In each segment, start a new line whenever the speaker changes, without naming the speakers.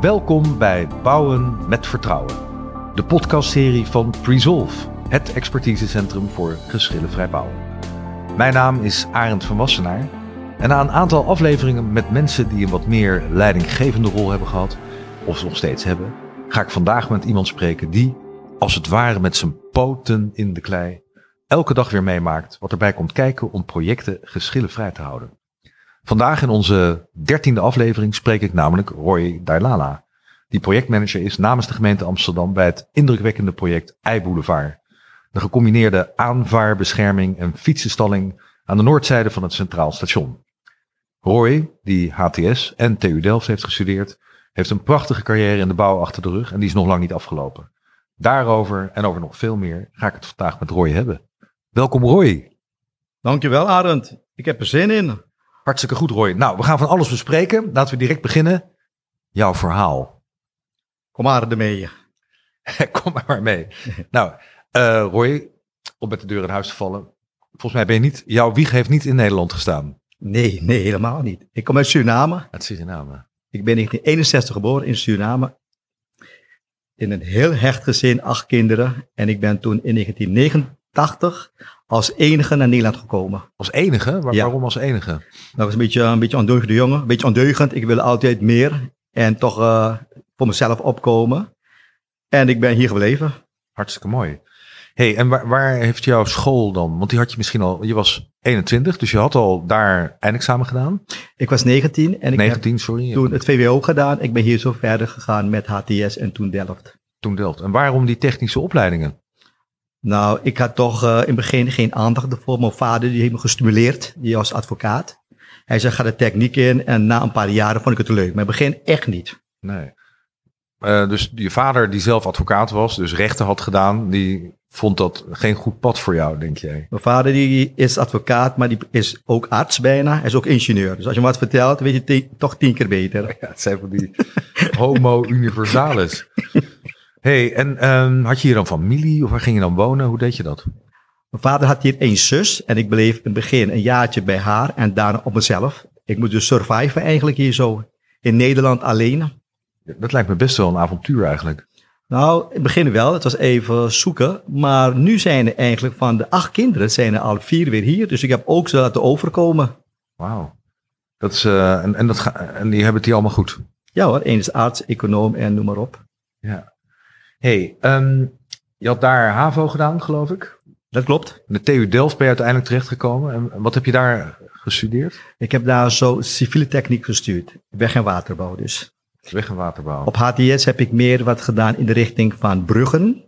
Welkom bij Bouwen met Vertrouwen, de podcastserie van Presolve, het expertisecentrum voor geschillenvrij bouwen. Mijn naam is Arend van Wassenaar en na een aantal afleveringen met mensen die een wat meer leidinggevende rol hebben gehad, of ze nog steeds hebben, ga ik vandaag met iemand spreken die, als het ware met zijn poten in de klei, elke dag weer meemaakt wat erbij komt kijken om projecten geschillenvrij te houden. Vandaag in onze dertiende aflevering spreek ik namelijk Roy Dailala, die projectmanager is namens de gemeente Amsterdam bij het indrukwekkende project Eiboulevard. De gecombineerde aanvaarbescherming en fietsenstalling aan de noordzijde van het Centraal Station. Roy, die HTS en TU Delft heeft gestudeerd, heeft een prachtige carrière in de bouw achter de rug en die is nog lang niet afgelopen. Daarover en over nog veel meer ga ik het vandaag met Roy hebben. Welkom Roy.
Dankjewel, Arend. Ik heb er zin in.
Hartstikke goed, Roy. Nou, we gaan van alles bespreken. Laten we direct beginnen. Jouw verhaal.
Kom maar ermee.
Kom maar maar mee. nou, eh, Roy, om met de deur in huis te vallen. Volgens mij ben je niet, jouw wieg heeft niet in Nederland gestaan.
Nee, nee, helemaal niet. Ik kom uit Suriname.
Uit Suriname.
Ik ben in 1961 geboren in Suriname. In een heel hecht gezin, acht kinderen. En ik ben toen in 1989 als enige naar Nederland gekomen.
Als enige? Waar-
Ja.
Waarom als enige?
Dat was een beetje een beetje ondeugende jongen. Een beetje ondeugend. Ik wilde altijd meer. En toch eh, voor mezelf opkomen. En ik ben hier gebleven.
Hartstikke mooi. hey, en waar, waar heeft jouw school dan? Want die had je misschien al, je was 21, dus je had al daar eindexamen gedaan.
Ik was 19 en ik heb
19, sorry.
toen het VWO gedaan. Ik ben hier zo verder gegaan met HTS en toen Delft.
Toen Delft. En waarom die technische opleidingen?
Nou, ik had toch eh, in het begin geen aandacht ervoor. Mijn vader die heeft me gestimuleerd, die was advocaat. Hij zei, ga de techniek in. En na een paar jaren vond ik het leuk. Maar in het begin echt niet.
Nee. Eh, dus je vader, die zelf advocaat was, dus rechten had gedaan, die vond dat geen goed pad voor jou, denk jij?
Mijn vader die is advocaat, maar die is ook arts bijna. Hij is ook ingenieur. Dus als je hem wat vertelt, weet je het ti- toch tien keer beter.
Ja, het zijn van die homo universalis. hey, en ehm, had je hier dan familie of waar ging je dan wonen? Hoe deed je dat?
Mijn vader had hier één zus. En ik bleef in het begin een jaartje bij haar en daarna op mezelf. Ik moet dus surviven eigenlijk hier zo. In Nederland alleen.
Dat lijkt me best wel een avontuur eigenlijk.
Nou, in het begin wel. Het was even zoeken. Maar nu zijn er eigenlijk van de acht kinderen zijn er al vier weer hier. Dus ik heb ook ze laten overkomen.
Wauw. Dat is, eh, en, en, dat ga- en die hebben het hier allemaal goed.
Ja hoor, één is arts, econoom en noem maar op.
Ja. hey, ehm, je had daar HAVO gedaan, geloof ik.
Dat klopt.
In de TU Delft ben je uiteindelijk terechtgekomen. En wat heb je daar gestudeerd?
Ik heb daar zo civiele techniek gestuurd. Weg- en waterbouw dus.
Weg- en waterbouw.
Op HTS heb ik meer wat gedaan in de richting van bruggen.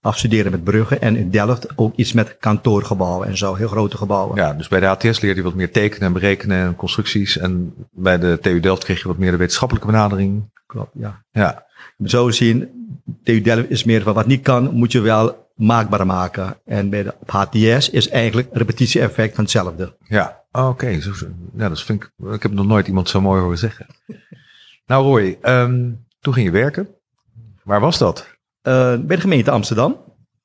Afstuderen met bruggen. En in Delft ook iets met kantoorgebouwen en zo. Heel grote gebouwen.
Ja, dus bij de HTS leerde je wat meer tekenen en berekenen en constructies. En bij de TU Delft kreeg je wat meer de wetenschappelijke benadering.
klopt. Ja.
Ja,
Zo zien, TU Delft is meer van wat niet kan, moet je wel maakbaar maken. En bij de op HTS is eigenlijk repetitie-effect van hetzelfde.
ja. Oh, Oké, zo- zo. ja, dat vind ik, ik heb nog nooit iemand zo mooi horen zeggen. Nou Roy, ehm, toen ging je werken. Waar was dat?
Eh, bij de gemeente Amsterdam.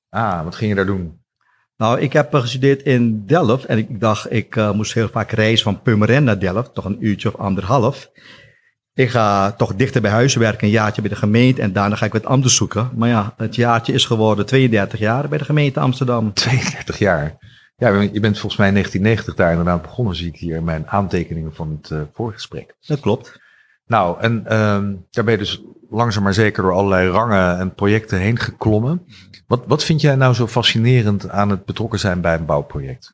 Ah, wat ging je daar doen?
Nou, ik heb eh, gestudeerd in Delft en ik dacht, ik eh, moest heel vaak reizen van Purmerend naar Delft, toch een uurtje of anderhalf. Ik ga toch dichter bij huis werken, een jaartje bij de gemeente en daarna ga ik wat anders zoeken. Maar ja, het jaartje is geworden 32 jaar bij de gemeente Amsterdam.
32 jaar. Ja, je bent volgens mij in 1990 daar inderdaad begonnen, zie ik hier in mijn aantekeningen van het eh, voorgesprek.
Dat klopt.
Nou, en ehm, daar ben je dus langzaam maar zeker door allerlei rangen en projecten heen geklommen. Wat, wat vind jij nou zo fascinerend aan het betrokken zijn bij een bouwproject?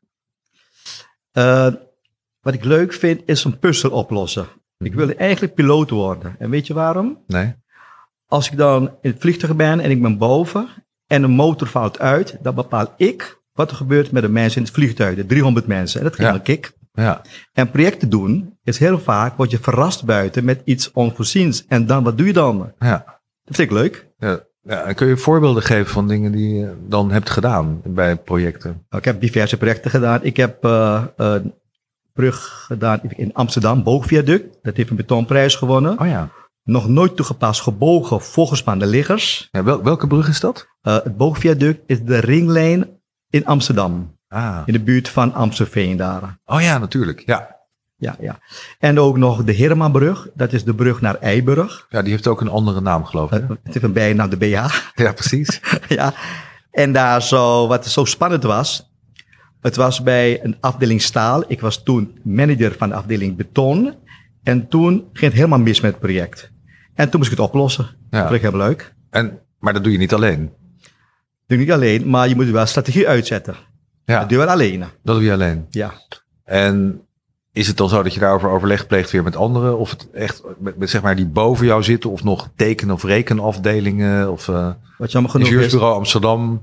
Eh, wat ik leuk vind, is een puzzel oplossen. Ik wilde eigenlijk piloot worden. En weet je waarom?
Nee?
Als ik dan in het vliegtuig ben en ik ben boven en een motor valt uit, dan bepaal ik wat er gebeurt met de mensen in het vliegtuig, de 300 mensen. En dat ging
Ja.
een kick.
Ja,
En projecten doen is heel vaak, word je verrast buiten met iets onvoorziens. En dan, wat doe je dan?
ja.
Dat vind ik leuk.
ja. ja en kun je voorbeelden geven van dingen die je dan hebt gedaan bij projecten?
Nou, Ik heb diverse projecten gedaan. Ik heb eh, een brug gedaan in Amsterdam, Boogviaduct. Dat heeft een betonprijs gewonnen.
Oh ja.
Nog nooit toegepast, gebogen volgens van de liggers.
ja wel- welke brug is dat?
Eh, het boogviaduct is de ringlijn in Amsterdam.
Ah.
In de buurt van Amstelveen daar.
Oh ja, natuurlijk. Ja.
ja, ja. En ook nog de Hermanbrug. Dat is de brug naar Eiburg. Eh,
Ja, die heeft ook een andere naam, geloof ik. hè?
Het heeft een bijnaam, de BH.
Ja, precies.
ja. En daar zo, wat zo spannend was, het was bij een afdeling staal. Ik was toen manager van de afdeling beton. En toen ging het helemaal mis met het project. En toen moest ik het oplossen. Dat vond ik heel leuk.
En, maar dat doe je niet alleen.
Doe niet alleen, maar je moet wel strategie uitzetten.
Ja,
Dat doe je wel alleen.
dat doe je alleen.
Ja.
En is het dan zo dat je daarover overleg pleegt weer met anderen? Of het echt met, met zeg maar die boven jou zitten of nog teken- of rekenafdelingen of eh
Wat jammer genoeg is,
ingenieursbureau Amsterdam?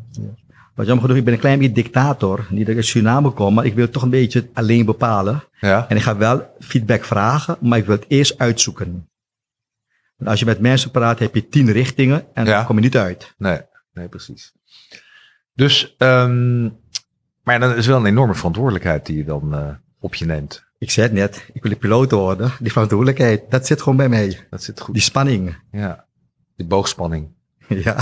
wat jammer genoeg, ik ben een klein beetje dictator. Niet dat ik uit Suriname kom, maar ik wil toch een beetje het alleen bepalen.
Ja,
En ik ga wel feedback vragen, maar ik wil het eerst uitzoeken. Want als je met mensen praat, heb je tien richtingen en
Ja.
daar kom je niet uit.
nee, nee, precies. Dus, ehm, maar dan is wel een enorme verantwoordelijkheid die je dan eh, op je neemt.
Ik zei het net, ik wil een piloot worden. Die verantwoordelijkheid, dat zit gewoon bij mij.
Dat zit goed.
Die spanning.
Ja, die boogspanning.
Ja,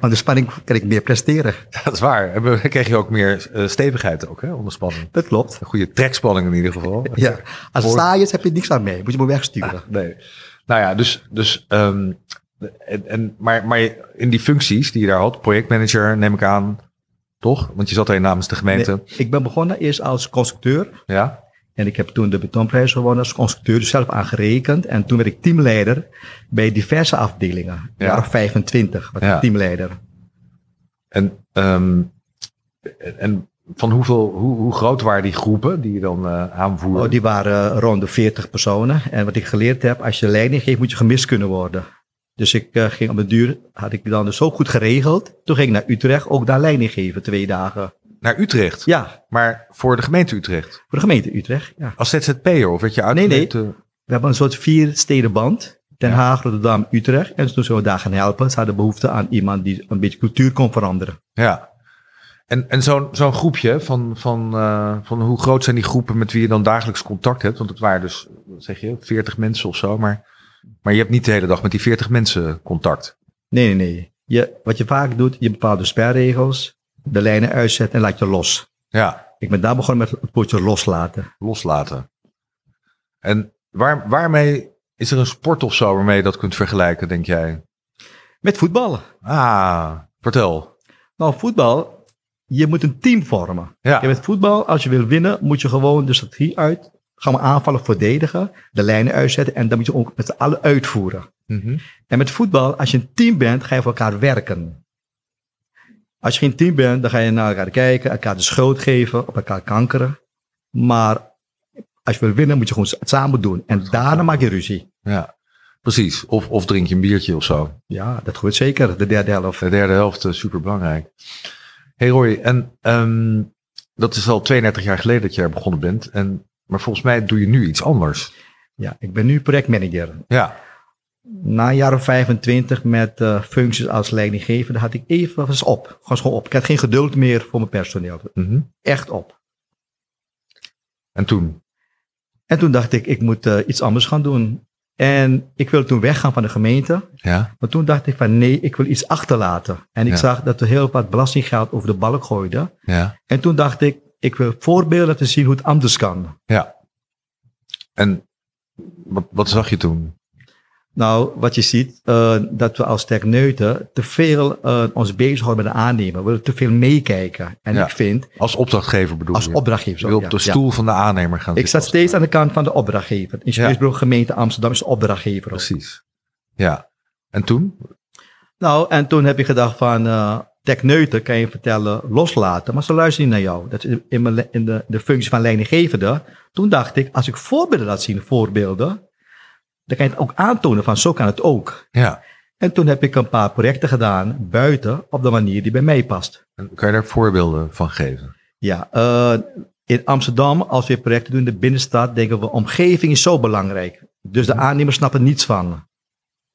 onder spanning kan ik meer presteren.
Dat is waar. En dan kreeg je ook meer eh, stevigheid ook, hè, onder spanning.
Dat klopt.
Een goede trekspanning in ieder geval.
Ja. Als het
Hoor-
saai is, heb je niks aan mee. Moet je me wegsturen.
Nee. Nou ja, dus, dus ehm, en, en, maar, maar in die functies die je daar had, projectmanager neem ik aan, toch? Want je zat alleen namens de
Nee,
gemeente.
ik ben begonnen eerst als constructeur.
Ja,
En ik heb toen de betonprijs gewonnen als constructeur dus zelf aangerekend. En toen werd ik teamleider bij diverse afdelingen.
Ja.
Ja. Jaar of 25 was ik
Ja.
teamleider.
en, ehm, en- en van hoeveel, hoe, hoe groot waren die groepen die je dan eh aanvoerde?
Oh, die waren rond de 40 personen. En wat ik geleerd heb, als je leiding geeft, moet je gemist kunnen worden. Dus ik eh, ging op de duur, had ik dan dus zo goed geregeld. Toen ging ik naar Utrecht, ook daar leiding geven, twee dagen.
Naar Utrecht,
Ja,
maar voor de gemeente Utrecht.
voor de gemeente Utrecht. Ja.
Als ZZP'er of werd je uit
Nee, nee.
gemeente-
We hebben een soort vier stedenband. Den
Ja.
Haag, Rotterdam, Utrecht. En toen zijn we daar gaan helpen. Ze hadden behoefte aan iemand die een beetje cultuur kon veranderen.
Ja. En, en zo'n zo'n groepje, van, van, eh, van hoe groot zijn die groepen met wie je dan dagelijks contact hebt? Want het waren dus, wat zeg je, 40 mensen of zo. Maar, maar je hebt niet de hele dag met die 40 mensen contact.
Nee, nee, nee. Je, wat je vaak doet, je bepaalt de spelregels, de lijnen uitzet en laat je los.
Ja,
Ik ben daar begonnen met het woordje loslaten.
loslaten. En waar, waarmee is er een sport of zo waarmee je dat kunt vergelijken, denk jij?
Met voetballen.
Ah, vertel.
Nou, voetbal, je moet een team vormen.
Ja,
Je met voetbal, als je wil winnen, moet je gewoon de strategie uit. Gaan we aanvallen, verdedigen, de lijnen uitzetten en dat moet je ook met z'n allen uitvoeren.
Mhm.
En met voetbal, als je een team bent, ga je voor elkaar werken. Als je geen team bent, dan ga je naar elkaar kijken, elkaar de schuld geven, op elkaar kankeren. Maar als je wil winnen, moet je gewoon het samen doen. En daarna maak je ruzie.
ja. precies. Of, of drink je een biertje of zo.
Ja, dat gebeurt zeker, de derde helft.
De derde helft is super belangrijk. Hey Roy, en ehm, dat is al 32 jaar geleden dat je daar begonnen bent. En, maar volgens mij doe je nu iets anders.
Ja, ik ben nu projectmanager.
Ja,
Na een jaar of 25 met eh, functies als leidinggevende had ik even was op. Was gewoon op. Ik had geen geduld meer voor mijn personeel.
mhm.
Echt op.
en toen?
En toen dacht ik, ik moet eh, iets anders gaan doen. En ik wilde toen weggaan van de gemeente.
Ja,
Maar toen dacht ik van nee, ik wil iets achterlaten. En ik
Ja.
zag dat we heel wat belastinggeld over de balk gooiden.
ja,
En toen dacht ik, ik wil voorbeelden laten zien hoe het anders kan.
ja. En wat, wat zag je toen?
Nou, wat je ziet, eh, dat we als techneuten te veel eh, ons bezighouden met de aannemer. We willen te veel meekijken. En
Ja.
ik vind,
Als opdrachtgever bedoel
als
je?
opdrachtgever...
Je wil op
ja,
de
ja.
stoel van de aannemer gaan
Ik
zitten.
zat steeds aan de kant van de opdrachtgever. Ingenieursbureau gemeente Amsterdam is de opdrachtgever. ook.
Precies. Ja. En toen?
Nou, en toen heb ik gedacht van, eh techneuten kan je vertellen, loslaten. Maar ze luisteren niet naar jou. Dat is in, mijn, le- in de, de functie van leidinggevende. Toen dacht ik, als ik voorbeelden laat zien, voorbeelden. Dan kan je het ook aantonen van, zo kan het ook.
Ja.
En toen heb ik een paar projecten gedaan buiten op de manier die bij mij past.
En kan je daar voorbeelden van geven?
Ja, eh, in Amsterdam, als we projecten doen in de binnenstad, denken we omgeving is zo belangrijk. Dus de aannemer snapt er niets van.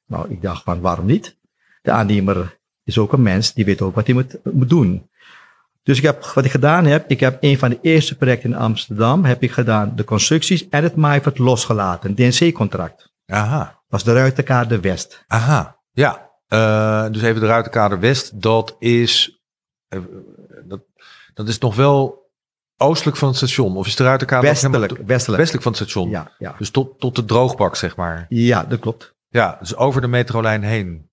Nou, ik dacht van waarom niet? De aannemer is ook een mens, die weet ook wat hij moet, moet doen. Dus ik heb, wat ik gedaan heb, ik heb een van de eerste projecten in Amsterdam, heb ik gedaan de constructies en het maaivert losgelaten, DNC-contract.
Aha.
Was de ruitenkaart West.
Aha, ja. Eh, dus even de Ruitenkader West, dat is, eh, dat, dat is nog wel Oostelijk van het station? Of is de ruiterkade nog helemaal-
Westelijk, westelijk.
westelijk van het station?
Ja, ja.
Dus tot, tot de droogbak, zeg maar.
ja, dat klopt.
Ja, dus over de metrolijn heen.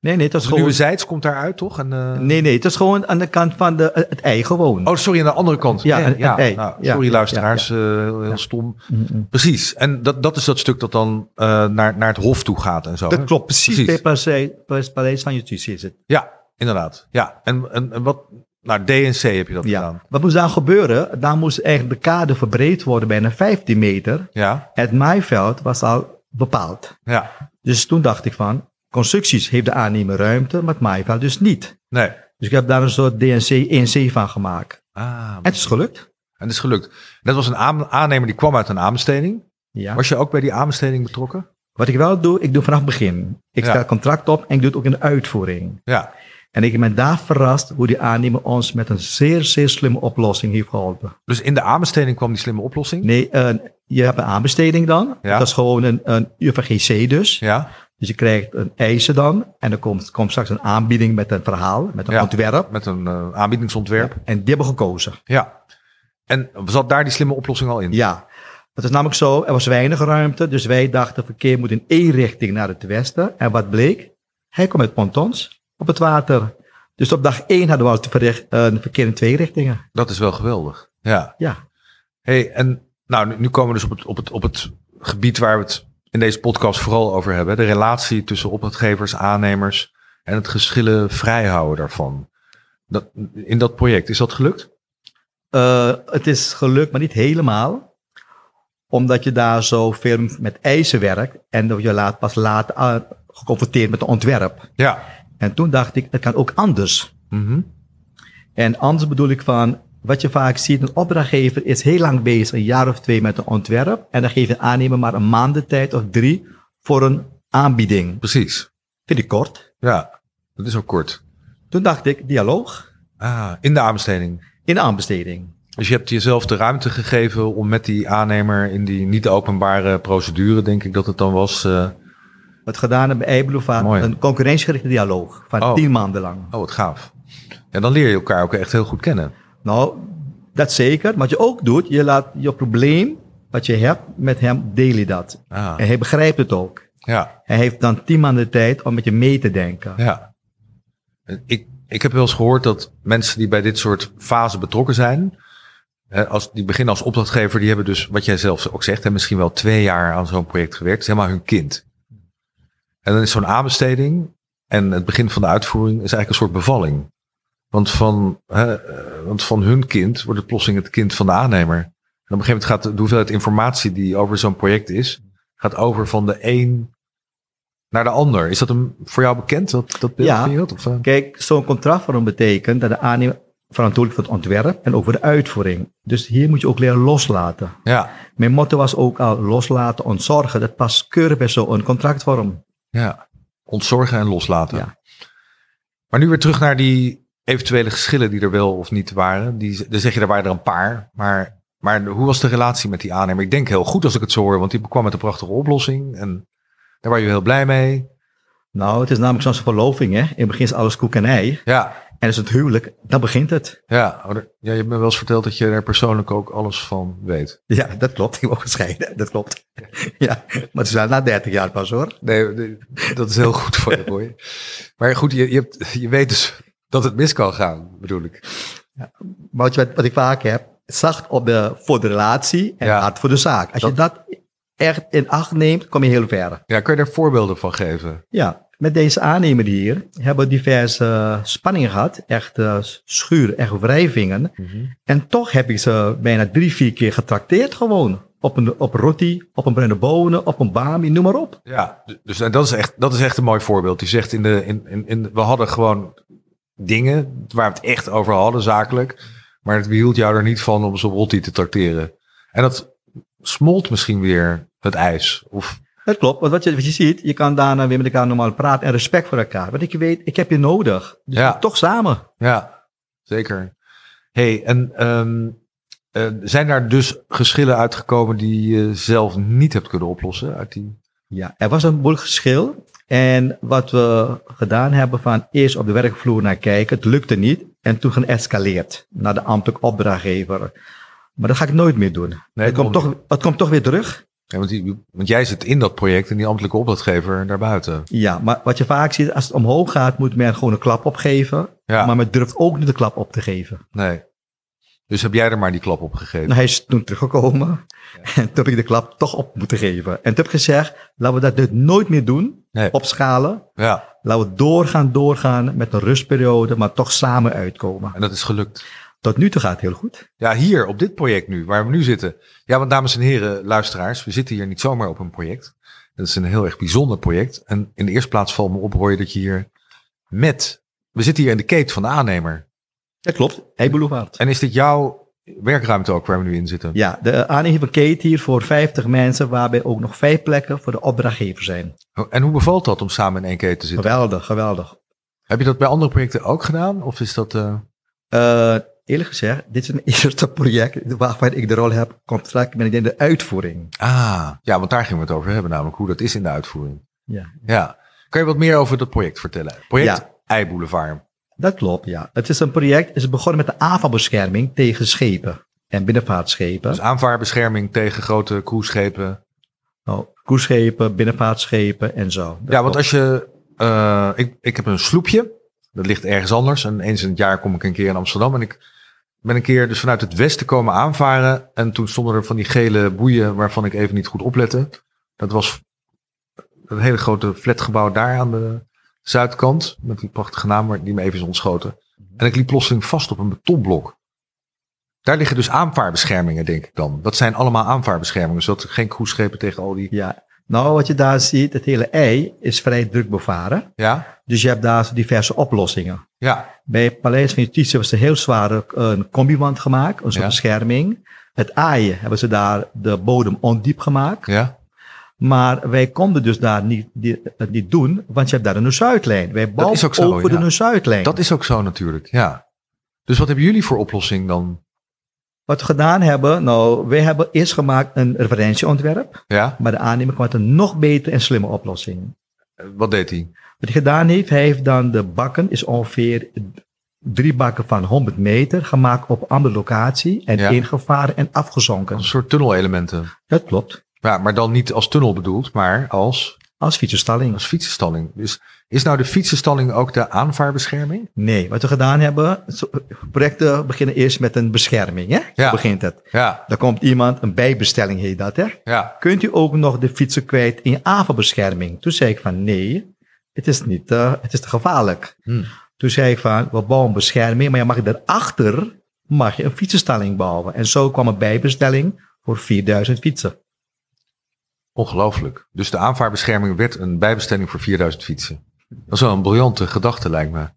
Nee, nee, dat is
Dus Nieuwe
gewoon...
Zijds komt daaruit, toch? En, eh,
Nee, nee, het is gewoon aan de kant van de, het ei gewoon.
Oh, sorry, aan de andere kant.
Ja,
Ja,
en-
ja,
en- hey,
nou,
ja,
sorry
ja,
luisteraars, eh, heel, heel
Ja.
stom.
Mhm.
Precies, en dat, dat is dat stuk dat dan eh, naar, naar het hof toe gaat en zo. hè?
Dat klopt, precies.
Precies.
Bij het paleis- bij het Paleis van Justitie is het.
Ja, inderdaad. Ja, en, en, en wat... Nou, DNC heb je dat
Ja.
gedaan.
Wat moest daar gebeuren? Daar moest eigenlijk de kade verbreed worden, bijna 15 meter.
Ja,
Het maaiveld was al bepaald.
ja.
Dus toen dacht ik van, constructies heeft de aannemer ruimte, maar het maaiveld dus niet.
Nee.
Dus ik heb daar een soort DNC 1C E van gemaakt.
Ah,
En het is gelukt.
en dat is gelukt. Dat was een aan- aannemer die kwam uit een aanbesteding.
Ja.
Was je ook bij die aanbesteding betrokken?
Wat ik wel doe, ik doe vanaf het begin. Ik
Ja.
stel contract op en ik doe het ook in de uitvoering.
Ja,
En ik ben daar verrast hoe die aannemer ons met een zeer, zeer slimme oplossing heeft geholpen.
dus in de aanbesteding kwam die slimme oplossing.
Nee, eh, je hebt een aanbesteding dan.
Ja.
Dat is gewoon een, een UVGC dus.
Ja,
Dus je krijgt een eisen dan. En er komt, komt straks een aanbieding met een verhaal, met een
Ja.
ontwerp.
met een eh, aanbiedingsontwerp.
En die hebben gekozen.
Ja. En zat daar die slimme oplossing al in?
Ja. Het is namelijk zo, er was weinig ruimte. Dus wij dachten, verkeer moet in één richting naar het westen. En wat bleek? Hij kwam met pontons op het water. Dus op dag één hadden we al te verricht- eh, een verkeer in twee richtingen.
Dat is wel geweldig. Ja.
Ja.
Hey, en nou, nu- nu komen we dus op het, op, het, op het gebied waar we het in deze podcast vooral over hebben. De relatie tussen opdrachtgevers, aannemers en het geschillen vrijhouden daarvan. Dat, in dat project, is dat gelukt?
Eh, het is gelukt, maar niet helemaal. Omdat je daar zo veel met eisen werkt. En dat je laat, pas later aan- geconfronteerd met een ontwerp.
Ja.
En toen dacht ik, het kan ook anders.
Mhm.
En anders bedoel ik van, wat je vaak ziet, een opdrachtgever is heel lang bezig, een jaar of twee met een ontwerp. En dan geeft een aannemer maar een maand de tijd of drie voor een aanbieding.
Precies.
Vind ik kort.
Ja, dat is ook kort.
Toen dacht ik, dialoog
Ah, in de aanbesteding.
in de aanbesteding.
Dus je hebt jezelf de ruimte gegeven om met die aannemer in die niet openbare procedure, denk ik dat het dan was. eh,
Wat gedaan hebben bij Eibloevaart,
Mooi.
een concurrentiegerichte dialoog van
Oh.
tien maanden lang.
oh, wat gaaf. En dan leer je elkaar ook echt heel goed kennen.
Nou, dat zeker. Wat je ook doet, je laat je probleem wat je hebt met hem, deel je dat.
Ah,
En hij begrijpt het ook.
ja,
Hij heeft dan tien maanden de tijd om met je mee te denken.
ja. Ik, ik heb wel eens gehoord dat mensen die bij dit soort fasen betrokken zijn, eh, als, die beginnen als opdrachtgever, die hebben dus, wat jij zelf ook zegt, hè, misschien wel twee jaar aan zo'n project gewerkt. Het is helemaal hun kind. En dan is zo'n aanbesteding en het begin van de uitvoering is eigenlijk een soort bevalling. Want van, hè, eh, want van hun kind wordt het plotseling het kind van de aannemer. En op een gegeven moment gaat de, de hoeveelheid informatie die over zo'n project is, gaat over van de een naar de ander. Is dat een, voor jou bekend, dat, dat beeld
Ja.
van je? Of, eh?
Kijk, zo'n contractvorm betekent dat de aannemer verantwoordelijk voor het ontwerp en ook voor de uitvoering. Dus hier moet je ook leren loslaten.
ja,
Mijn motto was ook al loslaten, ontzorgen. Dat past keurig bij zo'n contractvorm.
Ja, ontzorgen en loslaten.
Ja.
Maar nu weer terug naar die eventuele geschillen die er wel of niet waren. Die, dan zeg je, er waren er een paar. Maar, maar hoe was de relatie met die aannemer? Ik denk heel goed als ik het zo hoor, want die kwam met een prachtige oplossing. En daar waren je heel blij mee.
Nou, het is namelijk zo'n verloving, hè. In het begin is alles koek en ei.
Ja,
En is het huwelijk, dan begint het.
ja. Oh, er- ja je hebt me wel eens verteld dat je er persoonlijk ook alles van weet.
Ja, dat klopt. Ik word gescheiden. Dat klopt. Ja, maar het is wel na 30 jaar pas, hoor.
Nee, nee, dat is heel goed voor je, boy. Maar goed, je, je, hebt, je weet dus dat het mis kan gaan, bedoel ik.
Maar wat, je- wat ik vaak heb, zacht op de, voor de relatie en
Ja.
hard voor de zaak. Als je dat echt in acht neemt, kom je heel ver.
Ja, kun je daar voorbeelden van geven?
Ja, met deze aannemer hier hebben we diverse eh, spanningen gehad. Echt eh, schuur, echt wrijvingen. En toch heb ik ze bijna drie, vier keer getrakteerd gewoon. Op een, op roti, op een bruine bonen, op een bami, noem maar op.
Ja, d- dus en dat is echt, dat is echt een mooi voorbeeld. Die zegt in de, in, in, in, we hadden gewoon dingen waar we het echt over hadden, zakelijk. Maar het behield jou er niet van om zo'n rotti te tracteren. En dat smolt misschien weer het ijs. Of,
Dat klopt, want wat je, wat je ziet, je kan daarna weer met elkaar normaal praten en respect voor elkaar. Want ik weet, ik heb je nodig. Dus
Ja.
toch samen.
ja, zeker. hey, en ehm, eh, zijn daar dus geschillen uitgekomen die je zelf niet hebt kunnen oplossen? Uit die...
Ja, er was een moeilijk geschil. En wat we gedaan hebben van eerst op de werkvloer naar kijken, het lukte niet. En toen geëscaleerd naar de ambtelijk opdrachtgever. Maar dat ga ik nooit meer doen.
Nee,
het, komt
toch
toch, het komt toch weer terug.
Ja, want, die- want jij zit in dat project en die ambtelijke opdrachtgever daarbuiten.
Ja, maar wat je vaak ziet, als het omhoog gaat, moet men gewoon een klap opgeven.
Ja,
Maar men durft ook niet de klap op te geven.
nee. Dus heb jij er maar die klap op gegeven?
Nou, hij is toen teruggekomen. En toen heb ik de klap toch op moeten geven. En toen heb ik gezegd, laten we dat dit nooit meer doen.
Nee.
Opschalen.
Ja,
Laten we doorgaan, doorgaan met een rustperiode, maar toch samen uitkomen.
en dat is gelukt.
Tot nu toe gaat het heel goed.
Ja, hier op dit project nu, waar we nu zitten. Ja, want dames en heren, luisteraars, we zitten hier niet zomaar op een project. Het is een heel erg bijzonder project. En in de eerste plaats valt me op, hoor je dat je hier met... We zitten hier in de keet van de aannemer.
Dat klopt. Hey Boulevard.
En is dit jouw werkruimte ook waar we nu in zitten?
Ja, de aannemer van Kate hier voor 50 mensen, waarbij ook nog vijf plekken voor de opdrachtgever zijn.
Oh, En hoe bevalt dat om samen in één keet te zitten?
Geweldig, geweldig.
Heb je dat bij andere projecten ook gedaan? Of is dat... eh,
Eh, eerlijk gezegd, dit is een eerste project waarvan ik de rol heb, contract ben ik in de uitvoering.
Ah, ja, want daar gingen we het over hebben, namelijk hoe dat is in de uitvoering.
Ja.
Ja. Kan je wat meer over dat project vertellen? Project
Ja.
Ei Boulevard.
Dat klopt, ja. Het is een project, is begonnen met de aanvalbescherming tegen schepen en binnenvaartschepen.
Dus aanvaarbescherming tegen grote cruiseschepen.
Nou, koerschepen, binnenvaartschepen en zo. Dat
Ja, want
klopt.
als je... eh, ik, ik heb een sloepje. Dat ligt ergens anders. En eens in het jaar kom ik een keer in Amsterdam. En ik ben een keer dus vanuit het westen komen aanvaren. En toen stonden er van die gele boeien waarvan ik even niet goed oplette. Dat was een hele grote flatgebouw daar aan de zuidkant. Met die prachtige naam waar- die me even is ontschoten. En ik liep plotseling vast op een betonblok. Daar liggen dus aanvaarbeschermingen, denk ik dan. Dat zijn allemaal aanvaarbeschermingen, zodat er geen cruiseschepen tegen al die...
Ja. Nou, wat je daar ziet, het hele ei is vrij druk bevaren.
Ja,
Dus je hebt daar zo diverse oplossingen.
ja,
Bij het Paleis van Justitie hebben ze een heel zware eh, een combiwand gemaakt, een soort
Ja.
bescherming. Het aaien hebben ze daar de bodem ondiep gemaakt.
ja.
Maar wij konden dus daar niet, die- het niet doen, want je hebt daar een Zuidlijn. Wij bouwen
is ook zo,
over
ja.
de Zuidlijn.
Dat is ook zo natuurlijk, ja. Dus wat hebben jullie voor oplossing dan?
Wat we gedaan hebben, nou, wij hebben eerst gemaakt een referentieontwerp,
Ja,
maar de aannemer kwam met een nog betere en slimme oplossing.
eh, wat deed hij?
Wat hij gedaan heeft, hij heeft dan de bakken, is ongeveer drie bakken van 100 meter, gemaakt op een andere locatie en
Ja.
ingevaren en
Een
afgezonken.
soort tunnelelementen.
Dat klopt.
Ja, maar dan niet als tunnel bedoeld, maar als,
Als fietsenstalling.
als fietsenstalling. Dus is nou de fietsenstalling ook de aanvaarbescherming?
Nee, wat we gedaan hebben, zo- projecten beginnen eerst met een bescherming. Hè?
Ja.
Zo begint het.
Ja,
Dan komt iemand, een bijbestelling heet dat. Hè?
ja.
Kunt u ook nog de fietsen kwijt in avondbescherming? Toen zei ik van nee, het is, niet, eh, het is te gevaarlijk.
Hm.
Toen zei ik van we bouwen bescherming, maar je mag daarachter mag je een fietsenstalling bouwen. En zo kwam een bijbestelling voor 4000 fietsen.
Ongelooflijk. Dus de aanvaarbescherming werd een bijbestelling voor 4000 fietsen. Dat is wel een briljante gedachte, lijkt me.
Het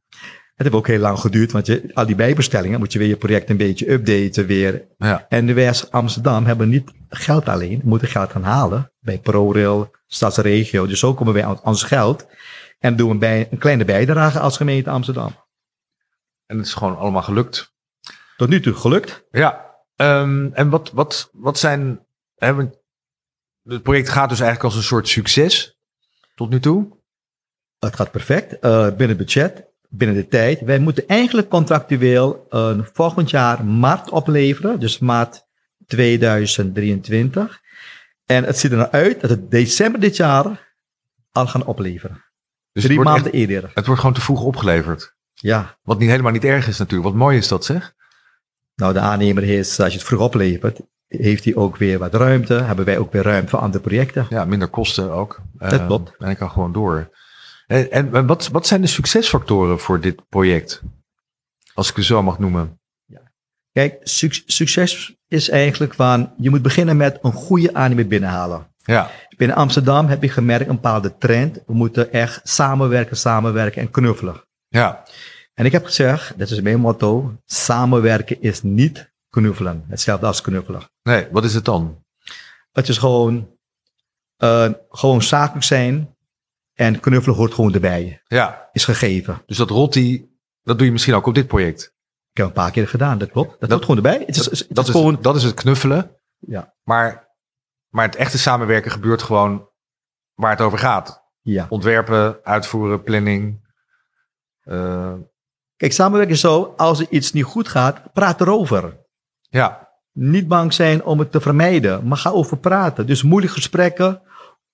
heeft ook heel lang geduurd, want je, al die bijbestellingen moet je weer je project een beetje updaten weer.
Ja.
En de West Amsterdam hebben niet geld alleen, we moeten geld gaan halen bij ProRail, Stadsregio. Dus zo komen wij aan ons geld en doen we bij, een kleine bijdrage als gemeente Amsterdam.
En het is gewoon allemaal gelukt.
Tot nu toe gelukt.
Ja, ehm, en wat, wat, wat zijn. Hè, want het project gaat dus eigenlijk als een soort succes tot nu toe. Dus
Het gaat perfect, eh, binnen het budget, binnen de tijd. Wij moeten eigenlijk contractueel een volgend jaar maart opleveren, dus maart 2023. En het ziet er nou uit dat het december dit jaar al gaan opleveren.
Dus
Drie
het, wordt
maanden
echt-
eerder.
het wordt gewoon te vroeg opgeleverd.
Ja.
Wat niet, helemaal niet erg is natuurlijk. Wat mooi is dat zeg.
Nou, de aannemer is, als je het vroeg oplevert, heeft hij ook weer wat ruimte. Hebben wij ook weer ruimte voor andere projecten.
Ja, minder kosten ook.
Dat
Ehm,
klopt.
En ik kan gewoon door. En, en, en wat, wat zijn de succesfactoren voor dit project? Als ik het zo mag noemen.
Kijk, suc- succes is eigenlijk van, je moet beginnen met een goede aannemer binnenhalen.
Ja,
Binnen Amsterdam heb je gemerkt een bepaalde trend. We moeten echt samenwerken, samenwerken en knuffelen.
ja,
En ik heb gezegd, dat is mijn motto, samenwerken is niet knuffelen. Hetzelfde als knuffelen.
nee, wat is het dan?
Het is gewoon, eh, gewoon zakelijk zijn en knuffelen hoort gewoon erbij.
Ja,
Is gegeven.
dus dat rotti, dat doe je misschien ook op dit project.
Ik heb een paar keer gedaan, dat klopt. Dat,
Dat-
hoort gewoon erbij. Het is, het
dat,
is
is,
gewoon,
dat is het knuffelen.
ja,
Maar, maar het echte samenwerken gebeurt gewoon waar het over gaat.
ja.
Ontwerpen, uitvoeren, planning. Eh,
Kijk, samenwerken is zo, als er iets niet goed gaat, praat erover.
Ja,
Niet bang zijn om het te vermijden, maar ga over praten. Dus moeilijke gesprekken,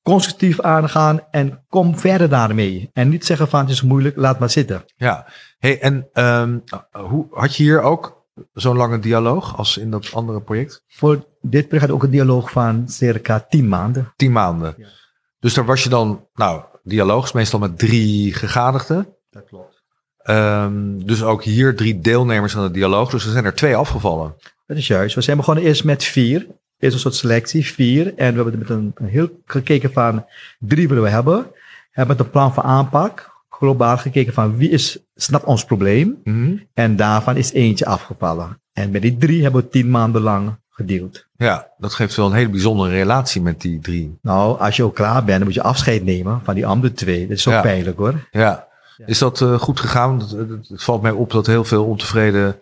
constructief aangaan en kom verder daarmee. En niet zeggen van het is moeilijk, laat maar zitten.
ja. Hey, en ehm, hoe, had je hier ook zo'n lange dialoog als in dat andere project?
Voor dit project had ik ook een dialoog van circa 10 maanden.
Tien maanden.
Ja.
Dus daar was je dan, nou, dialoogs meestal met drie gegadigden.
Dat klopt.
Ehm, dus ook hier drie deelnemers aan de dialoog. Dus er zijn er twee afgevallen.
Dat is juist. We zijn begonnen eerst met vier. Eerst een soort selectie, vier. En we hebben er met een, een heel gekeken van drie willen we hebben. We hebben met een plan van aanpak globaal gekeken van wie is, snapt ons probleem. En daarvan is eentje afgevallen. En met die drie hebben we tien maanden lang gedeeld.
Ja, dat geeft wel een hele bijzondere relatie met die drie.
Nou, als je ook klaar bent, dan moet je afscheid nemen van die andere twee. Dat is zo
Ja.
pijnlijk hoor.
Ja.
Ja.
Is dat eh, goed gegaan? Het, het- het valt mij op dat heel veel ontevreden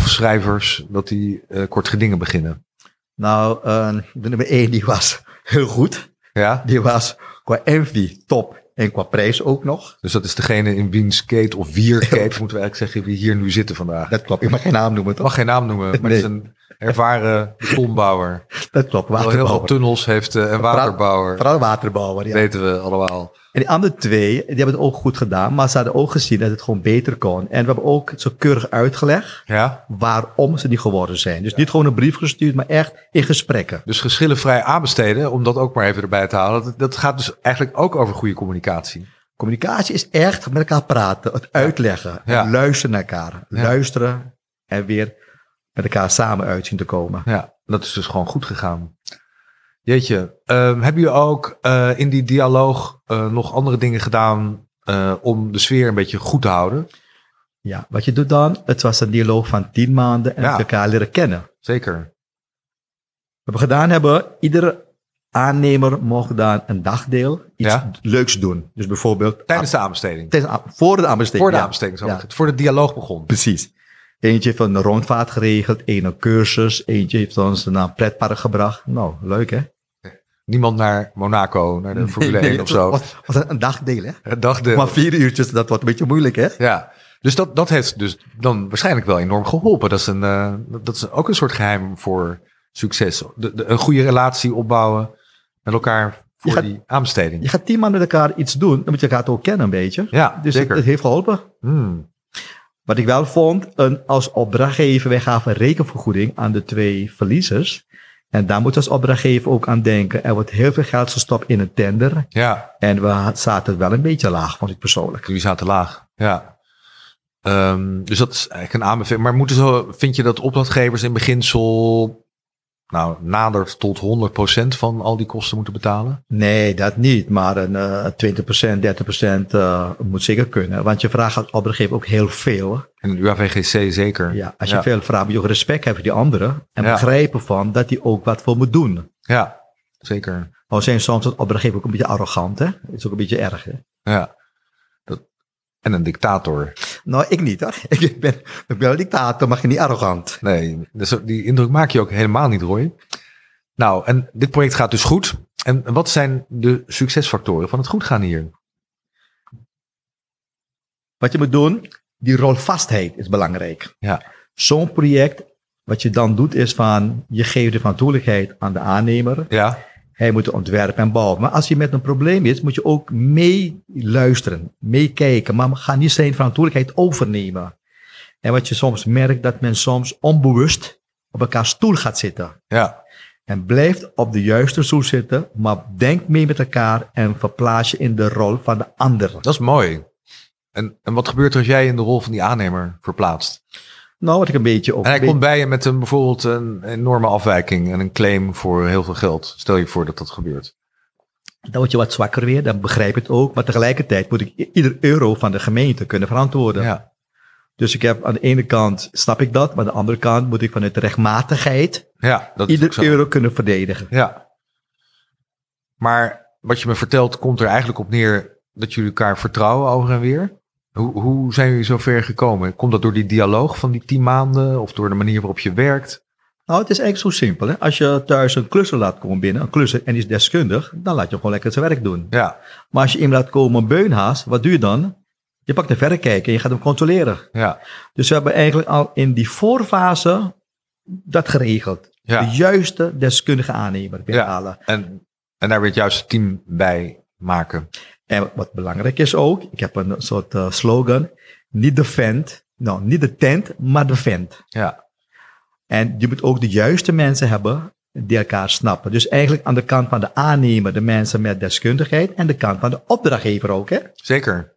afschrijvers, dat die eh, kort gedingen beginnen.
Nou, eh, de nummer één die was heel goed.
Ja?
Die was qua envy top en qua prijs ook nog.
Dus dat is degene in wiens Kate of wier Kate, moeten we eigenlijk zeggen, die hier nu zitten vandaag.
Dat klopt, ik mag geen naam noemen
Ik
toch?
mag geen naam noemen, maar het is een ervaren betonbouwer. Die
Dat klopt,
al heel veel
waterbouwer.
tunnels heeft eh, en waterbouwer.
Vooral waterbouwer, ja.
Weten we allemaal.
En die andere twee, die hebben het ook goed gedaan. Maar ze hadden ook gezien dat het gewoon beter kon. En we hebben ook zo keurig uitgelegd
Ja?
waarom ze niet geworden zijn. Dus niet gewoon een brief gestuurd, maar echt in gesprekken.
Dus geschillenvrij aanbesteden, om dat ook maar even erbij te halen. Dat, dat gaat dus eigenlijk ook over goede communicatie.
Communicatie is echt met elkaar praten, het uitleggen,
Ja.
het luisteren naar elkaar,
Ja.
luisteren en weer met elkaar samen uit zien te komen.
Ja, dat is dus gewoon goed gegaan. Jeetje, ehm, hebben jullie ook eh, in die dialoog eh, nog andere dingen gedaan eh, om de sfeer een beetje goed te houden?
Ja, wat je doet dan, het was een dialoog van tien maanden en
Ja.
elkaar leren kennen.
Zeker.
Wat we gedaan hebben, iedere aannemer mocht daar een dagdeel iets
Ja.
leuks doen. Dus bijvoorbeeld
Tijdens de aanbesteding.
tijdens a- voor de aanbesteding.
Voor de
ja.
aanbesteding, zo
Ja.
gezegd. Voor de dialoog begon.
Precies. Eentje heeft een rondvaart geregeld, één een cursus, eentje heeft ons naar een pretpark gebracht. Nou, leuk hè?
Niemand naar Monaco, naar de Formule 1 of zo.
Wat, wat een- een dagdeel hè?
Het dagdeel.
Maar vier uurtjes, dat wordt een beetje moeilijk, hè?
Ja, dus dat, dat heeft dus dan waarschijnlijk wel enorm geholpen. Dat is, een, eh, dat is ook een soort geheim voor succes. De, de- een goede relatie opbouwen met elkaar voor
Je gaat-
die aanbesteding.
Je gaat tien maanden met elkaar iets doen, dan moet je elkaar toch ook kennen een beetje.
Ja,
dus het,
zeker.
het heeft geholpen.
Hmm,
Wat ik wel vond, een, als opdrachtgever, wij gaven rekenvergoeding aan de twee verliezers. En daar moet je als opdrachtgever ook aan denken. Er wordt heel veel geld gestopt in een tender.
ja,
En we zaten wel een beetje laag, vond ik persoonlijk.
jullie zaten laag. Ja. Ehm, dus dat is eigenlijk een aanbeveling. Maar moeten zo, vind je dat opdrachtgevers in beginsel nou, nader tot 100% van al die kosten moeten betalen?
Nee, dat niet. Maar een eh 20%, 30% eh, moet zeker kunnen. Want je vraagt als opdrachtgever ook heel veel.
En de UAVGC zeker.
Ja, als je
Ja.
veel vraagt, moet je ook respect hebben voor die anderen. En
Ja.
begrijpen van dat die ook wat voor moet doen.
ja zeker.
Maar we zijn soms als opdrachtgever ook een beetje arrogant, hè? Het is ook een beetje erg, hè?
Ja. Dat, en een dictator.
Nou, ik niet, hoor. Ik ben, ik ben wel een dictator, maar niet arrogant.
Nee, dus die indruk maak je ook helemaal niet, Roy. Nou, en dit project gaat dus goed. En wat zijn de succesfactoren van het goed gaan hier?
Wat je moet doen, die rolvastheid is belangrijk.
Ja.
Zo'n project, wat je dan doet, is van... je geeft de verantwoordelijkheid aan de aannemer.
Ja,
Hij moet ontwerpen en bouwen. Maar als je met een probleem is, moet je ook meeluisteren, meekijken. Maar ga niet zijn verantwoordelijkheid overnemen. En wat je soms merkt, dat men soms onbewust op elkaar stoel gaat zitten.
ja,
En blijft op de juiste stoel zitten, maar denk mee met elkaar en verplaats je in de rol van de ander.
dat is mooi. En, en wat gebeurt er als jij in de rol van die aannemer verplaatst?
Nou, wat ik een beetje ook...
En hij
weet-
komt bij je met een, bijvoorbeeld een enorme afwijking en een claim voor heel veel geld. Stel je voor dat dat gebeurt.
Dan word je wat zwakker weer, dan begrijp ik het ook. Maar tegelijkertijd moet ik i- ieder euro van de gemeente kunnen verantwoorden.
Ja,
Dus ik heb aan de ene kant, snap ik dat, maar aan de andere kant moet ik vanuit de rechtmatigheid
ja dat is ook
ieder
zo.
euro kunnen verdedigen.
Ja. Maar wat je me vertelt, komt er eigenlijk op neer dat jullie elkaar vertrouwen over en weer. Hoe, hoe zijn jullie zo ver gekomen? Komt dat door die dialoog van die tien maanden of door de manier waarop je werkt?
Nou, het is eigenlijk zo simpel. Hè? Als je thuis een klusser laat komen binnen, een klusser en die is deskundig, dan laat je hem gewoon lekker zijn werk doen.
Ja,
Maar als je iemand laat komen een beunhaas, wat doe je dan? Je pakt een verrekijker en je gaat hem controleren.
Ja.
Dus we hebben eigenlijk al in die voorfase dat geregeld.
Ja.
De juiste deskundige aannemer binnenhalen.
En, en daar weer het juiste team bij maken.
En wat belangrijk is ook, ik heb een soort eh, slogan. Niet de vent, nou niet de tent, maar de vent.
Ja.
En je moet ook de juiste mensen hebben die elkaar snappen. Dus eigenlijk aan de kant van de aannemer, de mensen met deskundigheid. En de kant van de opdrachtgever ook. Hè?
Zeker.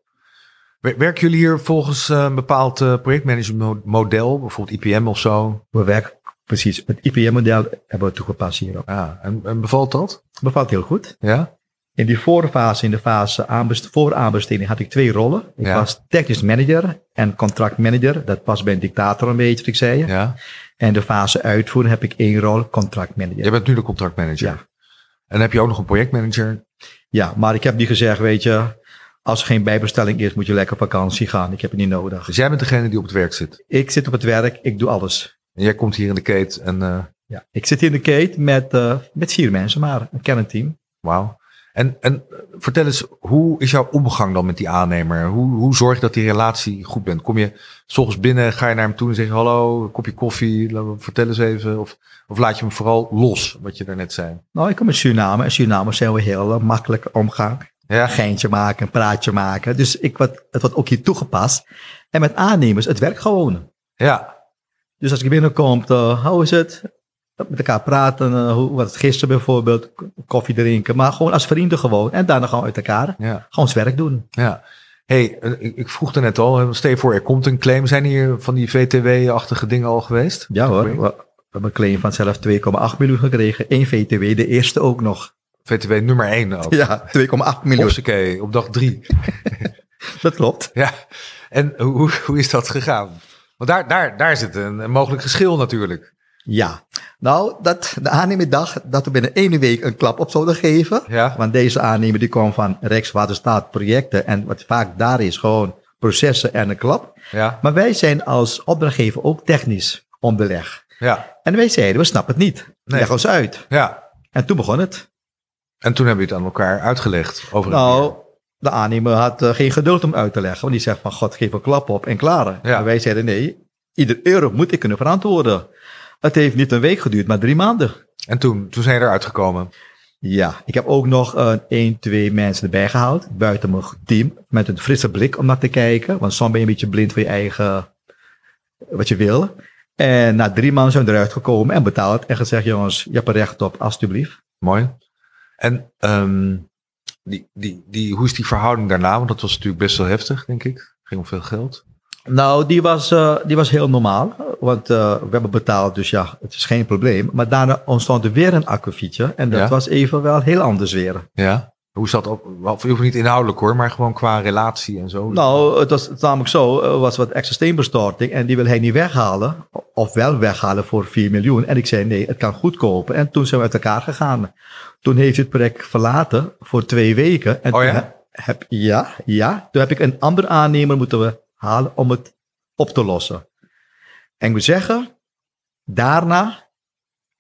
Wer- Werken jullie hier volgens eh, een bepaald eh, projectmanagementmodel, bijvoorbeeld IPM of zo?
We werken precies. Het IPM-model hebben we toegepast hierop.
Ja. En, en bevalt dat?
Bevalt heel goed.
Ja.
In die voorfase, in de fase aanbest- voor aanbesteding, had ik twee rollen. Ik
Ja.
was technisch manager en contractmanager. Dat past bij een dictator een beetje, wat ik zei.
ja.
En de fase uitvoering heb ik één rol, contractmanager.
Jij bent nu de contractmanager.
Ja.
En heb je ook nog een projectmanager?
Ja, maar ik heb die gezegd, weet je, als er geen bijbestelling is, moet je lekker op vakantie gaan. Ik heb het niet nodig.
Dus jij bent degene die op het werk zit.
Ik zit op het werk, ik doe alles.
En jij komt hier in de kate en eh,
Ja. Ik zit in de kate met, eh, met vier mensen, maar een kernteam.
wauw. En, en eh, vertel eens, hoe is jouw omgang dan met die aannemer? Hoe, hoe zorg je dat die relatie goed bent? Kom je s ochtends binnen, ga je naar hem toe en zeg je hallo, een kopje koffie, laat me- vertel eens even. Of, of laat je hem vooral los, wat je daarnet zei?
Nou, ik kom uit Suriname. En Suriname zijn we heel eh, makkelijk omgaan.
Ja,
een geintje maken, een praatje maken. Dus ik, wat, het wordt ook hier toegepast. En met aannemers, het werkt gewoon.
ja,
Dus als ik binnenkom, eh, hoe is het? Met elkaar praten, eh, hoe was het gisteren bijvoorbeeld, k- koffie drinken. Maar gewoon als vrienden gewoon. En daarna gewoon uit elkaar,
ja,
gewoon ons werk doen.
ja. hey, eh, ik, ik vroeg daarnet al, hè, stel je voor, er komt een claim. Zijn hier van die VTW-achtige dingen al geweest?
Ja hoor, we, we hebben een claim van zelf 2,8 miljoen gekregen. 1 VTW, de eerste ook nog.
VTW nummer 1 ook.
Ja, 2,8 miljoen.
Hopsakee, op dag 3.
Dat klopt.
Ja, en hoe, hoe is dat gegaan? Want daar, daar, daar zit een, een mogelijk geschil natuurlijk.
Ja. Nou, dat, de aannemer dacht dat we binnen één week een klap op zouden geven.
Ja,
Want deze aannemer die kwam van Rijkswaterstaat projecten. En wat vaak daar is, gewoon processen en een klap.
ja,
Maar wij zijn als opdrachtgever ook technisch onderleg.
ja,
En wij zeiden, we snappen het niet.
Nee.
Leg ons uit.
ja.
En toen begon het.
En toen hebben jullie het aan elkaar uitgelegd. Over een
Nou, de aannemer had eh, geen geduld om uit te leggen. Want die zegt van, god, geef een klap op en klaar.
Ja.
En wij zeiden, nee, ieder euro moet ik kunnen verantwoorden. Het heeft niet een week geduurd, maar drie maanden.
keer. En toen, toen zijn je eruit gekomen.
Ja, ik heb ook nog eh, een 1, 2 mensen erbij gehaald. Buiten mijn team. Met een frisse blik om naar te kijken. Want soms ben je een beetje blind voor je eigen. wat je wil. En na drie maanden zijn we eruit gekomen en betaald. En gezegd: jongens, je hebt er recht op, alstublieft.
Mooi. En ehm, die, die, die, hoe is die verhouding daarna? Want dat was natuurlijk best wel heftig, denk ik. Ging om veel geld.
Nou, die was, eh, die was heel normaal. Want eh, we hebben betaald, dus ja, het is geen probleem. Maar daarna ontstond er weer een akkefietje. En dat
Ja.
was even wel heel anders weer.
Ja. Hoe is dat op? Of je hoeft niet inhoudelijk hoor, maar gewoon qua relatie en zo.
Nou, het was namelijk zo, er was wat extra steenbestorting en die wil hij niet weghalen. Of wel weghalen voor 4 miljoen. En ik zei nee, het kan goedkopen. En toen zijn we uit elkaar gegaan. Toen heeft hij het project verlaten voor twee weken. En
Oh ja?
toen he- Heb, ja, ja. Toen heb ik een andere aannemer moeten we halen om het op te lossen. En ik moet zeggen, daarna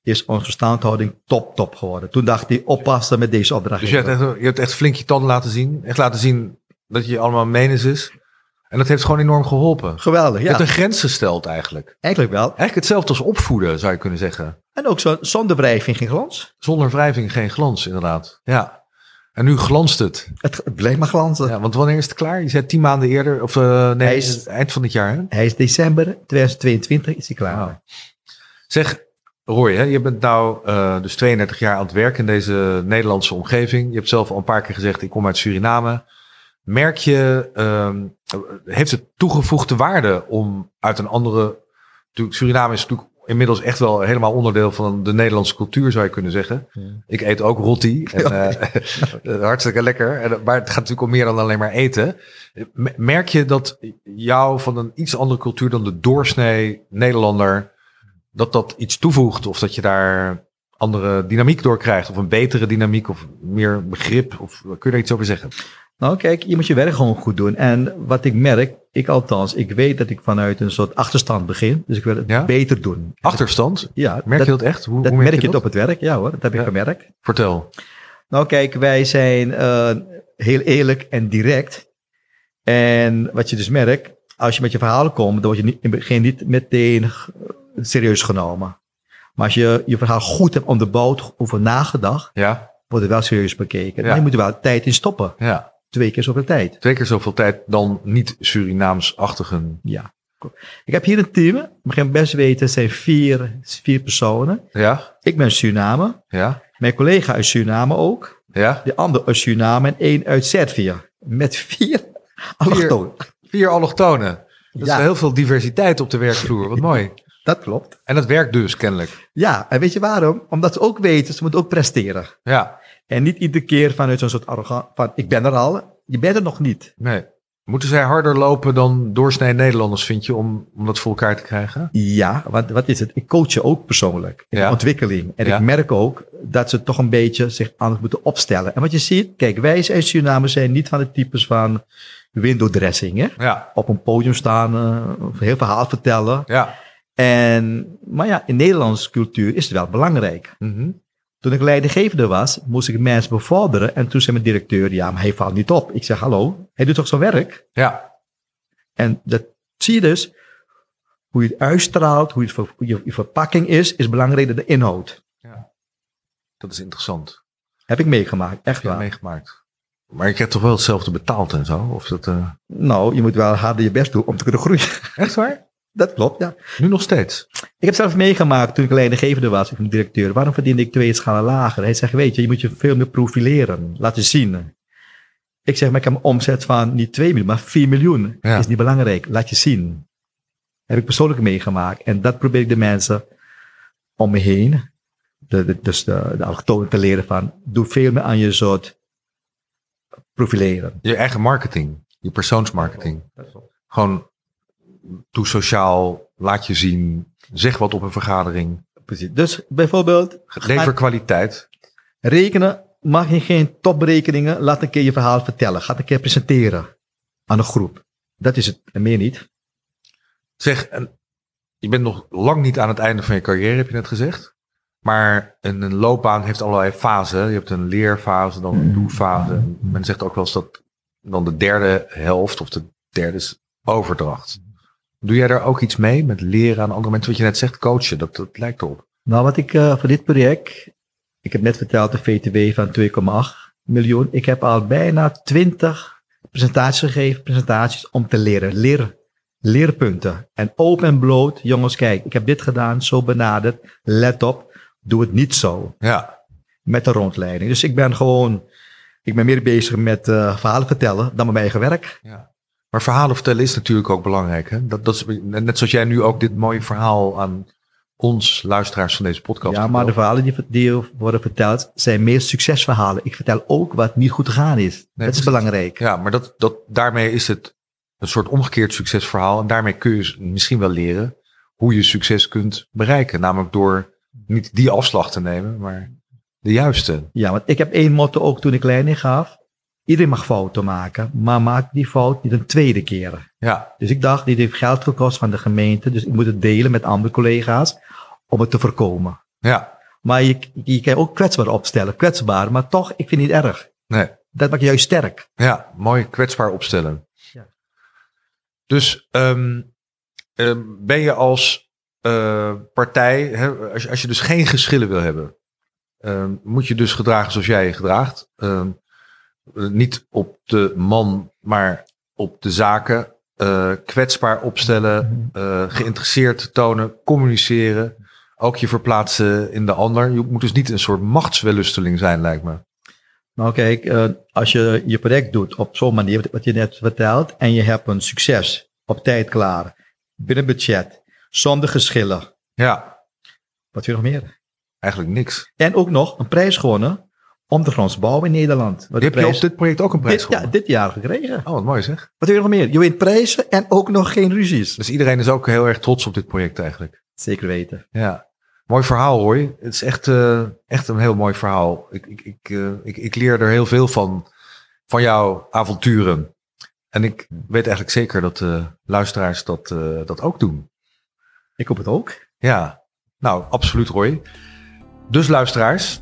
is onze verstandhouding top, top geworden. Toen dacht hij, oppassen met deze opdracht.
Dus je hebt, echt, je hebt echt flink je tanden laten zien. Echt laten zien dat je allemaal menens is. En dat heeft gewoon enorm geholpen.
Geweldig,
Je
ja.
hebt een grens gesteld eigenlijk.
Eigenlijk wel.
Eigenlijk hetzelfde als opvoeden, zou je kunnen zeggen.
En ook zo, zonder wrijving geen glans.
Zonder wrijving geen glans, inderdaad. Ja. En nu glanst het.
Het, het bleef maar glanzen.
Ja, want wanneer is het klaar? Je zei tien maanden eerder, of eh, nee,
Hij is-
eind van dit jaar. Hè?
Hij is december 2022 is hij klaar.
Wauw. Zeg, Roy, hè, je bent nou eh, dus 32 jaar aan het werk in deze Nederlandse omgeving. Je hebt zelf al een paar keer gezegd, ik kom uit Suriname. Merk je, ehm, heeft het toegevoegde waarde om uit een andere... Natuurlijk, Suriname is natuurlijk inmiddels echt wel helemaal onderdeel van de Nederlandse cultuur, zou je kunnen zeggen. Ik eet ook rotti. En, eh, hartstikke lekker. En, maar het gaat natuurlijk om meer dan alleen maar eten. M- Merk je dat jou van een iets andere cultuur dan de doorsnee Nederlander, dat dat iets toevoegt? Of dat je daar andere dynamiek door krijgt? Of een betere dynamiek? Of meer begrip? Of kun je daar iets over zeggen?
Nou kijk, je moet je werk gewoon goed doen. En wat ik merk, ik althans, ik weet dat ik vanuit een soort achterstand begin. Dus ik wil het
Ja?
beter doen.
Achterstand?
Ja,
Merk
dat,
je dat echt? Hoe,
dat
hoe
merk je het op het werk. Ja hoor, dat heb
Ja.
ik gemerkt.
Vertel.
Nou kijk, wij zijn eh, heel eerlijk en direct. En wat je dus merkt, als je met je verhalen komt, dan word je niet, in het begin niet meteen g- serieus genomen. Maar als je je verhaal goed hebt onderbouwd, over nagedacht,
Ja,
wordt het wel serieus bekeken.
Ja.
Maar je moet er wel tijd in stoppen.
ja.
Twee keer zoveel tijd.
Twee keer zoveel tijd dan niet-Surinaams-achtigen.
Ja. Ik heb hier een team. Ik begin best weten, het zijn vier, vier personen.
Ja,
Ik ben Suriname.
ja,
Mijn collega uit Suriname ook.
ja.
De ander uit Suriname en één uit Servië. Met vier allochtonen.
Vier allochtonen. Dat is
Ja.
wel heel veel diversiteit op de werkvloer. Wat mooi.
Dat klopt.
En dat werkt dus kennelijk.
Ja, en weet je waarom? Omdat ze ook weten, ze moeten ook presteren.
Ja,
En niet iedere keer vanuit zo'n soort arrogant van ik ben er al, je bent er nog niet.
nee. Moeten zij harder lopen dan doorsnee Nederlanders, vind je, om, om dat voor elkaar te krijgen?
Ja, wat, wat is het? Ik coach je ook persoonlijk in
Ja.
de ontwikkeling. En
Ja.
ik merk ook dat ze toch een beetje zich anders moeten opstellen. En wat je ziet, kijk, wij en Suriname zijn niet van de types van window dressing. Hè?
Ja,
Op een podium staan, eh, een heel verhaal vertellen.
ja.
En, maar ja, in Nederlandse cultuur is het wel belangrijk.
Mhm.
Toen ik leidinggevende was, moest ik mensen bevorderen. En toen zei mijn directeur, ja, maar hij valt niet op. Ik zeg, hallo, hij doet toch zijn werk?
Ja,
En dat zie je dus, hoe je het uitstraalt, hoe je, het ver- hoe je, je verpakking is, is belangrijker dan de inhoud.
dat is interessant.
Heb ik meegemaakt, echt
Ja,
waar.
meegemaakt. Maar je krijgt toch wel hetzelfde betaald en zo? Of dat, eh,
Nou, je moet wel harder je best doen om te kunnen groeien.
Echt waar?
Dat klopt, ja.
Nu nog steeds.
Ik heb zelf meegemaakt toen ik leidinggevende was, ik een directeur. Waarom verdiende ik twee schalen lager? Hij zegt, weet je, je moet je veel meer profileren, laten zien. Ik zeg, maar ik heb een omzet van niet 2 miljoen, maar 4 miljoen.
Ja.
Is niet belangrijk, laat je zien. Heb ik persoonlijk meegemaakt. En dat probeer ik de mensen om me heen, de, de, dus de, de allochtonen te leren van, doe veel meer aan je soort profileren.
Je eigen marketing, je persoonsmarketing. Gewoon doe sociaal, laat je zien, zeg wat op een vergadering.
Precies. Dus bijvoorbeeld,
Lever kwaliteit.
Rekenen mag je geen toprekeningen. Laat een keer je verhaal vertellen. Ga het een keer presenteren aan een groep. Dat is het en meer niet.
Zeg, en je bent nog lang niet aan het einde van je carrière, heb je net gezegd. Maar een, een loopbaan heeft allerlei fasen. Je hebt een leerfase, dan
Mm.
een doefase. En Men zegt ook wel eens dat dan de derde helft of de derde is overdracht. Doe jij daar ook iets mee met leren aan andere mensen? Wat je net zegt, coachen, dat, dat lijkt erop.
Nou, wat ik eh, voor dit project. Ik heb net verteld de VTW van 2,8 miljoen. Ik heb al bijna 20 presentaties gegeven. Presentaties om te leren. Leer, leerpunten. En open en bloot. Jongens, kijk, ik heb dit gedaan. Zo benaderd. Let op. Doe het niet zo.
Ja,
met de rondleiding. Dus ik ben gewoon, ik ben meer bezig met eh, verhalen vertellen dan met mijn eigen werk.
ja. Maar verhalen vertellen is natuurlijk ook belangrijk. Hè? Dat, dat is, net zoals jij nu ook dit mooie verhaal aan ons, luisteraars van deze podcast.
ja, maar de
vertelt.
verhalen die, die worden verteld zijn meer succesverhalen. Ik vertel ook wat niet goed gegaan is. dat
precies.
is belangrijk.
Ja, maar dat, dat, daarmee is het een soort omgekeerd succesverhaal. En daarmee kun je s- misschien wel leren hoe je succes kunt bereiken. Namelijk door niet die afslag te nemen, maar de juiste.
Ja, want ik heb één motto ook toen ik leiding gaf. Iedereen mag fouten maken, maar maak die fout niet een tweede keer.
Ja,
Dus ik dacht, dit heeft geld gekost van de gemeente, dus ik moet het delen met andere collega's om het te voorkomen.
ja,
Maar je, je kan je ook kwetsbaar opstellen, kwetsbaar, maar toch, ik vind het niet erg.
nee.
Dat maakt je juist sterk.
Ja, mooi kwetsbaar opstellen.
Ja.
Dus ehm, ehm, ben je als eh, partij, hè, als, je- als je dus geen geschillen wil hebben, ehm, moet je dus gedragen zoals jij je gedraagt. Ehm, eh, niet op de man, maar op de zaken. Eh, kwetsbaar opstellen, eh, geïnteresseerd tonen, communiceren. Ook je verplaatsen in de ander. Je moet dus niet een soort machtswellusteling zijn, lijkt me.
Nou kijk, eh, als je je project doet op zo'n manier, wat- wat je net vertelt, en je hebt een succes op tijd klaar, binnen budget, zonder geschillen,
Ja,
wat wil je nog meer?
eigenlijk niks.
En ook nog een prijs gewonnen om de grondsbouw in Nederland. Wat
Die heb je op dit project ook een prijs
dit, ja,
gewonnen?
dit jaar gekregen.
Oh, wat mooi zeg.
Wat wil je nog meer? Je wint prijzen en ook nog geen ruzies.
Dus iedereen is ook heel erg trots op dit project eigenlijk.
Zeker weten.
Ja. Mooi verhaal hoor. Het is echt, eh, echt een heel mooi verhaal. Ik, ik, ik, eh, ik, ik leer er heel veel van, van jouw avonturen. En ik weet eigenlijk zeker dat eh, luisteraars dat, eh, dat ook doen.
Ik hoop het ook.
Ja, nou, absoluut Roy. Dus luisteraars,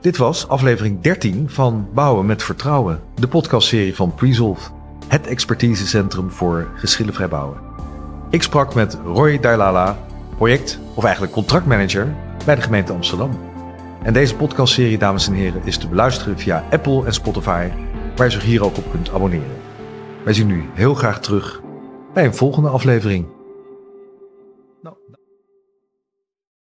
dit was aflevering 13 van Bouwen met Vertrouwen. De podcastserie van Presolve. het expertisecentrum voor geschillenvrij bouwen. Ik sprak met Roy Dailala, project- of eigenlijk contractmanager bij de gemeente Amsterdam. En deze podcastserie, dames en heren, is te beluisteren via Apple en Spotify, waar je zich hier ook op kunt abonneren. Wij zien u heel graag terug bij een volgende aflevering.
Nou,